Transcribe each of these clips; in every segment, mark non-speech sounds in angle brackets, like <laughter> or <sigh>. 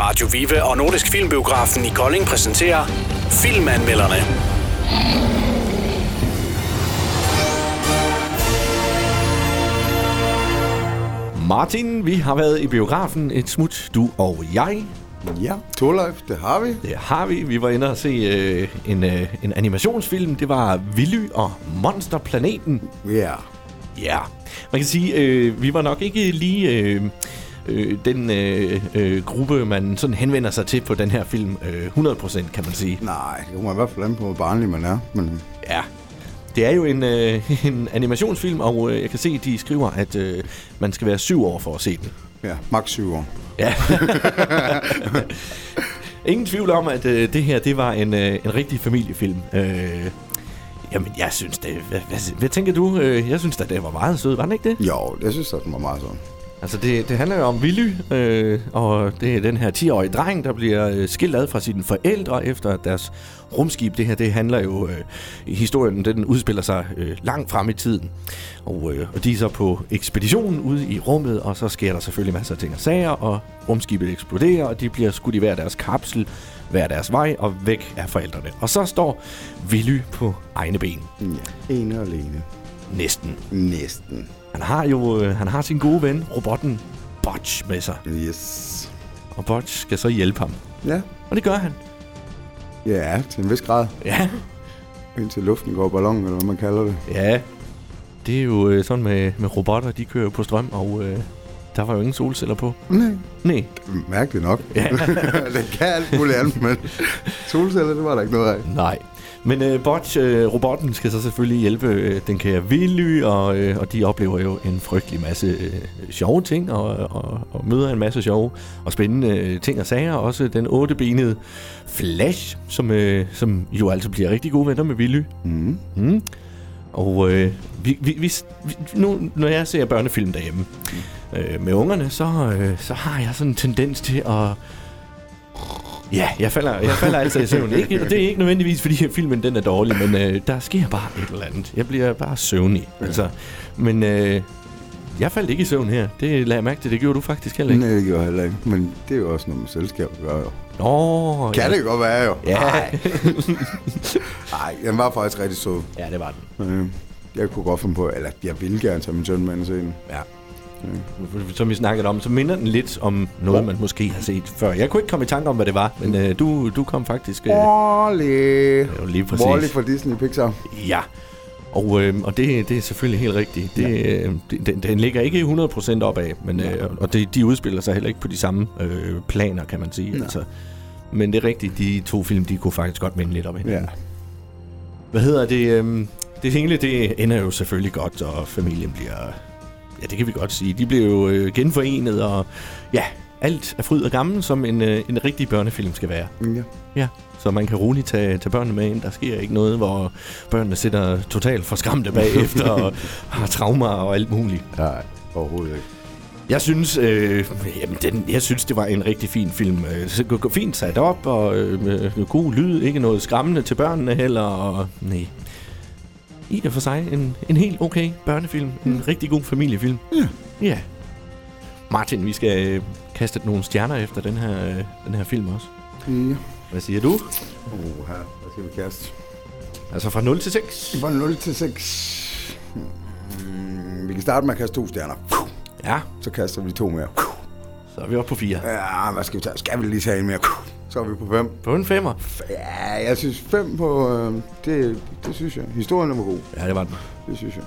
Radio Vive og Nordisk Filmbiografen i Kolding præsenterer Filmanmelderne. Martin, vi har været i biografen et smut, du og jeg. Ja, Torleif, det har vi. Det har vi. Vi var inde og se øh, en, øh, en animationsfilm. Det var Willy og Monsterplaneten. Ja. Ja. Man kan sige, øh, vi var nok ikke lige... Øh, øh, den øh, øh, gruppe, man sådan henvender sig til på den her film, øh, 100% kan man sige. Nej, det kommer i hvert fald an på, hvor barnlig man er. Men Ja. Det er jo en, øh, <laughs> en animationsfilm, og øh, jeg kan se, at de skriver, at øh, man skal være syv år for at se den. ja, maks 7 år. Ja. <laughs> Ingen tvivl om, at øh, det her det var en, øh, en rigtig familiefilm. Øh, jamen, jeg synes det... Hvad, hvad, hvad tænker du? Øh, jeg synes da, det var meget sød, var den ikke det? Jo, jeg synes, at den var meget sådan. Altså, det, det handler jo om Willy, øh, og det er den her 10-årige dreng, der bliver øh, skilt ad fra sine forældre efter at deres rumskib. Det her, det handler jo... Øh, historien, den udspiller sig øh, langt frem i tiden. Og, øh, og de er så på ekspeditionen ude i rummet, og så sker der selvfølgelig masser af ting og sager, og rumskibet eksploderer, og de bliver skudt i hver deres kapsel, hver deres vej, og væk af forældrene. Og så står Willy på egne ben. Ja. Ene og alene. Næsten. Næsten. Han har jo øh, han har sin gode ven, robotten Botch, med sig. Yes. Og Botch skal så hjælpe ham. Ja. Og det gør han. Ja, til en vis grad. Ja. Indtil luften går i ballon, eller hvad man kalder det. Ja. Det er jo øh, sådan med, med robotter, de kører jo på strøm, og øh, der var jo ingen solceller på. Nej. Nej. Mærkeligt nok. Ja. <laughs> det kan alt muligt andet, men solceller, det var der ikke noget af. Nej. Men øh, Botch, øh, robotten, skal så selvfølgelig hjælpe øh, den kære Willy, og, øh, og de oplever jo en frygtelig masse øh, sjove ting, og, og, og møder en masse sjove og spændende øh, ting og sager. Også den ottebenede Flash, som, øh, som jo altså bliver rigtig gode venner med Willy. Mm. Mm. Og øh, vi, vi, vi, vi, nu, når jeg ser børnefilm derhjemme øh, med ungerne, så, øh, så har jeg sådan en tendens til at... Ja, jeg falder, jeg falder altså i søvn. Ikke, og det er ikke nødvendigvis, fordi filmen den er dårlig, men øh, der sker bare et eller andet. Jeg bliver bare søvnig. Altså. Men øh, jeg faldt ikke i søvn her. Det lagde jeg mærke til. Det gjorde du faktisk heller ikke. Nej, det gjorde jeg heller ikke. Men det er jo også noget med selskab at gøre, jo. Nå, Kan ja. det godt være, jo. Ja. Nej, den var faktisk rigtig sød. ja, det var den. Øh, Jeg kunne godt finde på, eller jeg ville gerne tage min søn med ind og se den. Ja. Som vi snakkede om, så minder den lidt om noget, man måske har set før. Jeg kunne ikke komme i tanke om, hvad det var, men øh, du, du kom faktisk... Øh, Wall-E. jo lige præcis. Wall-E fra Disney Pixar. ja. Og, øh, og det, det er selvfølgelig helt rigtigt. Det, øh, det, den, den ligger ikke 100% opad, men, øh, og det, de udspiller sig heller ikke på de samme øh, planer, kan man sige. Altså. Men det er rigtigt, de to film, de kunne faktisk godt minde lidt om hinanden. Ja. Hvad hedder det? øhm, Det hele, det ender jo selvfølgelig godt, og familien bliver... Ja, det kan vi godt sige. De bliver jo øh, genforenet, og ja, alt er fryd og gammel, som en, øh, en rigtig børnefilm skal være. ja. Ja. Så man kan roligt tage, tage børnene med ind. Der sker ikke noget, hvor børnene sidder totalt forskræmte bagefter og <laughs> har traumer og alt muligt. Nej, overhovedet ikke. Jeg synes, øh, jamen den, jeg synes, det var en rigtig fin film. Øh, så g- g- Fint sat op, og øh, med god lyd, ikke noget skræmmende til børnene heller. Og, nej. I og for sig en, en helt okay børnefilm. En rigtig god familiefilm. Mm. Ja. ja. Martin, vi skal øh, kaste nogle stjerner efter den her, øh, den her film også. Ja. Hvad siger du? Uh, her. Hvad skal vi kaste? Altså fra 0 til 6. Fra 0 til 6. Mm, vi kan starte med at kaste to stjerner. Ja, Så kaster vi to mere. så er vi oppe på 4. Ja, hvad skal vi tage? Skal vi lige tage en mere? Så er vi på fem. På en femmer. Ja, jeg synes fem på... Øh, det, det synes jeg. Historien var god. Ja, det var den. Det synes jeg.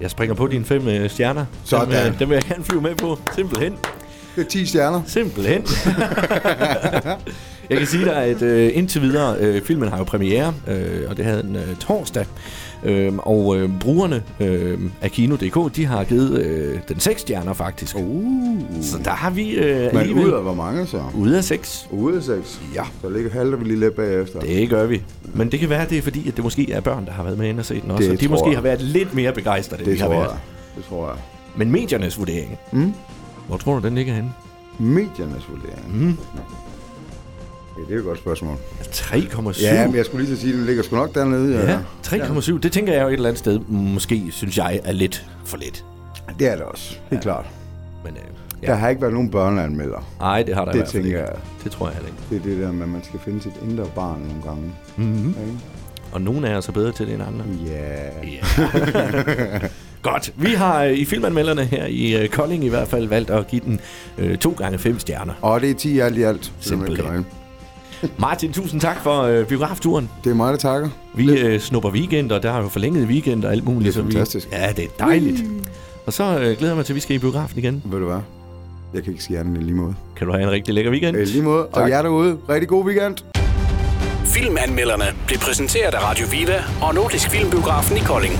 Jeg springer på dine fem øh, stjerner. Dem, Sådan. øh, dem vil jeg gerne flyve med på. Simpelthen. Det er 10 stjerner. <laughs> Simpelthen. jeg kan sige dig, at øh, indtil videre, øh, filmen har jo premiere, øh, og det havde den øh, torsdag. Øh, og øh, brugerne øh, af Kino.dk, de har givet øh, den 6 stjerner faktisk. Oh. Uh. Så der har vi øh, Men ud alligevel... af hvor mange så? Ude af 6. Ude af seks. Ja. Så ligger halter vi lige lidt bagefter. Det gør vi. Men det kan være, det er fordi, at det måske er børn, der har været med ind og set den også. Det og de tror måske jeg. har været lidt mere begejstrede, end vi det har tror været. jeg. Det tror jeg. Men mediernes vurdering, Mm. hvor tror du, den ligger henne? Mediernes vurdering. Mm. Ja, det er et godt spørgsmål. 3,7. Ja, men jeg skulle lige til at sige, at den ligger sgu nok dernede. Ja. Ja, 3,7. Det tænker jeg jo et eller andet sted, måske synes jeg er lidt for lidt. Det er det også, helt ja. klart. Men øh, Ja. Ja. Der har ikke været nogen børneanmelder. Nej, det har der i Det hvert fald tænker ikke. jeg. Det tror jeg heller ikke. Det er det der med, at man skal finde sit indre barn nogle gange. Mm-hmm. Ikke? Og nogen af os er altså bedre til det end andre. Ja. Ja. Godt. Vi har øh, i filmanmelderne her i øh, Kolding i hvert fald valgt at give den øh, to gange fem stjerner. Og det er 10 alt i alt. Simpelthen. Simpelthen. Martin, tusind tak for øh, biografturen. Det er mig, der takker. Vi øh, snupper weekender, der er jo forlænget weekend og alt muligt. Det er så vi- fantastisk. Ja, det er dejligt. Og så øh, glæder jeg mig til, at vi skal i biografen igen. Ved du hvad? Jeg kan ikke sige andet end i lige måde. Kan du have en rigtig lækker weekend? Øh, lige måde. Tak. Og jer derude, rigtig god weekend. Filmanmelderne blev præsenteret af Radio Vive og Nordisk Filmbiografen i Kolding.